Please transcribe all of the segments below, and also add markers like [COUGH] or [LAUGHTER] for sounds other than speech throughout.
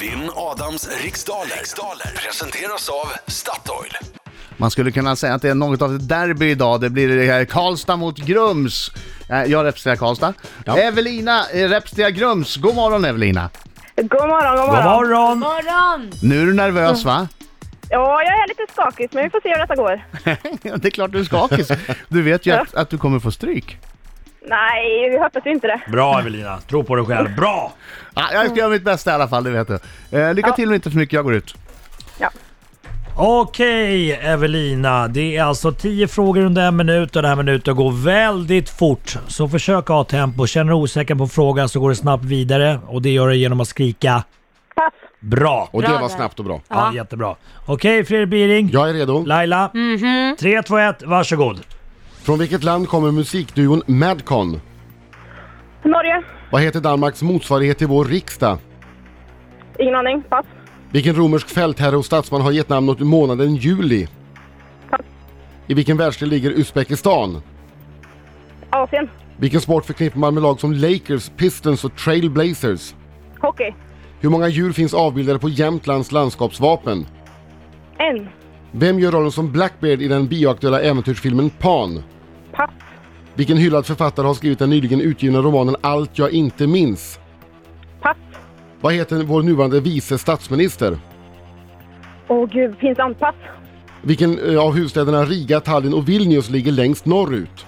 Vinn Adams riksdaler. riksdaler presenteras av Statoil. Man skulle kunna säga att det är något av ett derby idag. Det blir det här Karlstad mot Grums. Eh, Jag representerar Karlstad. Ja. Evelina eh, representerar Grums. God morgon Evelina. God morgon, god God morgon. morgon! Morgon! Nu är du nervös va? Ja, jag är lite skakig, men vi får se hur detta går. Mm. [LAUGHS] det är klart du är skakig. Du vet ju att, att du kommer få stryk. Nej, vi hoppas ju inte det. Bra Evelina, tro på dig själv. Bra! Ja, jag Mm. ska göra mitt bästa i alla fall, det vet du. Eh, lycka till och inte för mycket, jag går ut. Okej Evelina, det är alltså 10 frågor under en minut och den här minuten går väldigt fort. Så försök ha tempo. Känner du osäker på frågan så går du snabbt vidare och det gör du genom att skrika Pass. bra. Och det Bra var där. snabbt och bra. Ja, jättebra. Okej Fredrik Biring, Jag är redo. Laila. Tre, två, ett, varsågod. Från vilket land kommer musikduon Madcon? Norge? Vad heter Danmarks motsvarighet till vår riksdag? Ingen aning. Pass. Vilken romersk fältherre och statsman har gett namn åt månaden juli? Pass. I vilken världsdel ligger Uzbekistan? Asien? Vilken sport förknippar man med lag som Lakers, Pistons och Trailblazers? Hockey? Hur många djur finns avbildade på Jämtlands landskapsvapen? En? Vem gör rollen som Blackbeard i den bioaktuella äventyrsfilmen Pan? Pass. Vilken hyllad författare har skrivit den nyligen utgivna romanen Allt jag inte minns? Pass. Vad heter vår nuvarande vice statsminister? Åh gud, pinsamt. Pass. Vilken eh, av huvudstäderna Riga, Tallinn och Vilnius ligger längst norrut?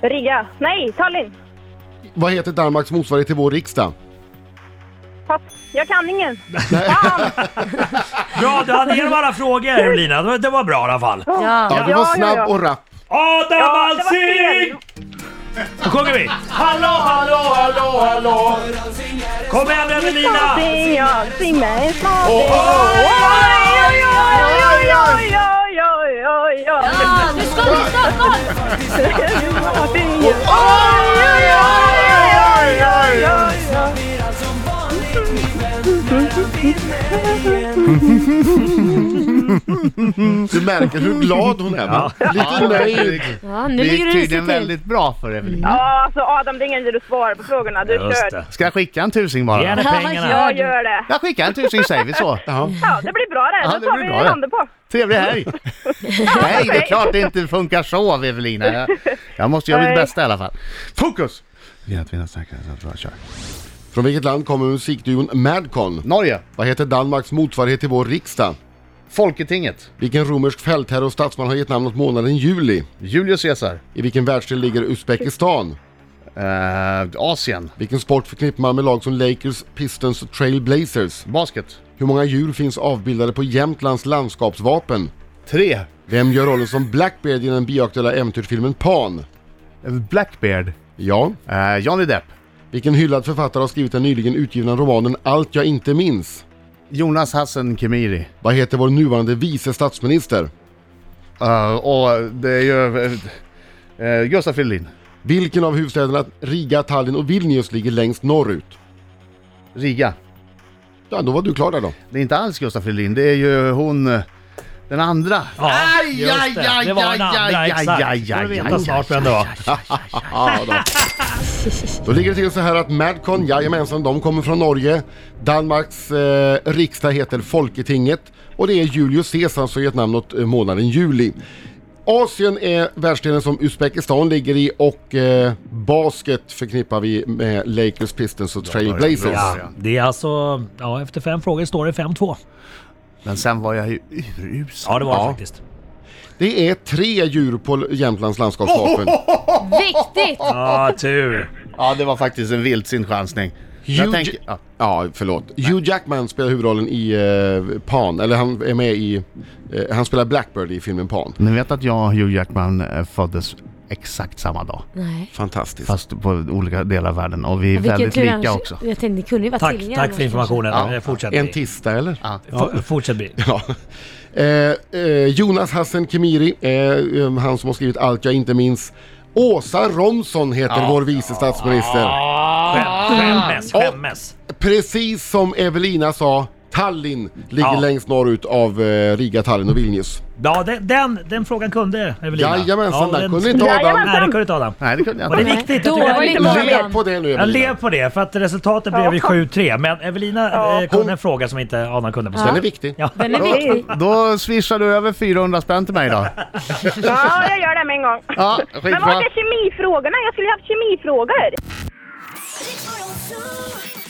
Riga? Nej, Tallinn? Vad heter Danmarks motsvarighet till vår riksdag? Pass. Jag kan ingen. Bra, du hade igenom alla frågor Evelina. Det var- Det var bra i alla fall. Ja, Ja. du var Ja, ja, snabb ja. och rapp. Adam Ja, det var Alsing! fel. Då sjunger vi. Hallå, hallå, hallå, hallå! Kom igen Evelina! Sing jag, sing mig en smak. Åh, åh, åh! Oj, oj, oj, oj, oj, oj, oj, oj. Ja, nu ska vi Stockholm! Sing jag. Oj, oj, oj, oj, oj, oj. Du märker hur glad hon är. va? Lite nöjd. Ja, Det nu ligger gick det tydligen risigt till. väldigt bra för Evelina. Ja, alltså Adam, det är ingen idé att du svarar på frågorna. Du är Just körd. det. Ska jag skicka en tusing bara? Ge henne Ja, pengarna. ja. Jag gör det. Jag skickar en tusing, säger vi så. Ja, det blir bra Ja, det. Ja, det det tar blir vi bra det. handen på. Trevlig helg! Nej, det är klart det inte funkar så, Evelina. Jag, jag måste göra mitt Nej. bästa i alla fall. Fokus! Vi har att vinna säkert, så att bra, kör. Från vilket land kommer musikduon Madcon? Norge, Vad heter Danmarks motsvarighet till vår riksdag? Folketinget, Vilken romersk fältherre och statsman har gett namn åt månaden juli? Julius Caesar, I vilken världsdel ligger Uzbekistan? eh, Asien, Vilken sport förknippar man med lag som Lakers, Pistons och Trailblazers? basket, Hur många djur finns avbildade på Jämtlands landskapsvapen? tre, Vem gör rollen som Blackbeard i den bioaktuella äventyrsfilmen Pan? Blackbeard, Ja. eh, Johnny Depp, Vilken hyllad författare har skrivit den nyligen utgivna romanen Allt jag inte minns? Jonas Hassan Khemiri. Vad heter vår nuvarande vice statsminister? Eh, och det är ju eh, eh, Gustaf Fridolin, Vilken av huvudstäderna Riga, Tallinn och Vilnius ligger längst norrut? Riga. Ja, då var du klar där då. Det är inte alls Gustaf Fridolin, det är ju hon, eh, den andra. Ja, just det. Det var den andra, exakt. Får du veta snart vem det var. Ja, då. då ligger det till så här att Madcon, jajamensan, de kommer från Norge. Danmarks eh, riksdag heter Folketinget och det är Julius Caesar som gett namn åt eh, månaden juli. Asien är världsdelen som Uzbekistan ligger i och eh, basket förknippar vi med Lakers, Pistons och Trailblazers. Ja, det är alltså... Ja, efter fem frågor står det 5-2. Men sen var jag ju urusel. Ja, det var det Ja. faktiskt. Det är tre djur på Jämtlands landskapsvapen. Viktigt! Ja, tur. Ja, det var faktiskt en vildsint chansning. Jag Huge- tänker, ja. Ja, förlåt. Hugh Jackman spelar huvudrollen i eh, Pan, eller han är med i... Eh, han spelar Blackbird i filmen Pan. Ni vet att jag och Hugh Jackman eh, föddes exakt samma dag, Nej. Fantastiskt. fast på olika delar av världen och vi är väldigt tur lika annars. också. Jag tänkte ni kunde ju vara Tack, tvillingar tack annars för informationen. kanske. Ja, Fortsätt. En Bi. tisdag eller? F- Fortsätt Bi. Ja. Eh, eh, Jonas Hassen Kemiri, eh, eh, han som har skrivit Allt jag inte minns. Åsa Romson heter vår vice Ah. statsminister. Skäm- Skämmes, skämmes. Precis som Evelina sa, Tallinn ligger Ja. längst norrut av eh, Riga, Tallinn och Vilnius. Ja, den, den, den frågan kunde Evelina. Jajamensan, ja, den kunde inte Nej, Adam. den kunde inte Adam. Nej, det kunde jag Var det inte. viktigt? Jag tycker- Dåligt var Lev Morgan. på det nu Jag lev Evelina. på det, för att resultatet blev ju 7-3. Men Evelina Ja. eh, kunde Hon- en fråga som inte Adam kunde. på Den är slutet. viktig. Ja. Den är viktig. Då swishar du över 400 spänn till mig då. Ja, jag gör det med en gång. Ja, Men var skitbra. är kemifrågorna? Jag skulle ju haft kemifrågor. Riks Morgonzoo.